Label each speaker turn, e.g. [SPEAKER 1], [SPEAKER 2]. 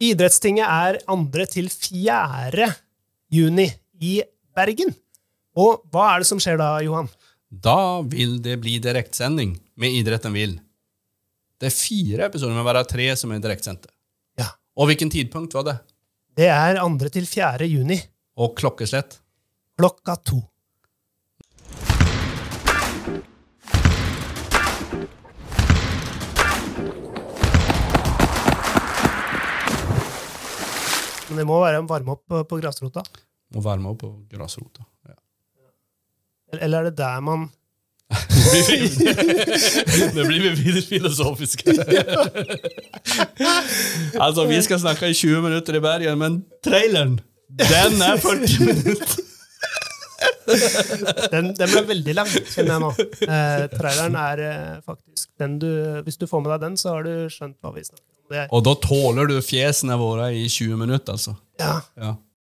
[SPEAKER 1] Idrettstinget er 2. til 4. juni i Bergen. Og hva er det som skjer da, Johan?
[SPEAKER 2] Da vil det bli direktsending med Idretten vil. Det er fire episoder, men bare tre som er direktsendte.
[SPEAKER 1] Ja.
[SPEAKER 2] Og hvilken tidpunkt var det?
[SPEAKER 1] Det er 2. til 4. juni
[SPEAKER 2] Og klokkeslett?
[SPEAKER 1] klokka to. Men det må være en varme opp på, på grasrota.
[SPEAKER 2] Må varme opp på grasrota. Ja.
[SPEAKER 1] Eller er det der man
[SPEAKER 2] Det blir vi videre filosofiske. altså, vi skal snakke i 20 minutter i Bergen, men traileren, den er 40 minutter.
[SPEAKER 1] Den, den ble veldig lang, kjenner jeg nå. Eh, traileren er eh, faktisk den du Hvis du får med deg den, så har du skjønt hva vi snakker om. Det er,
[SPEAKER 2] Og da tåler du fjesene våre i 20 minutter, altså.
[SPEAKER 1] ja,
[SPEAKER 2] Ja.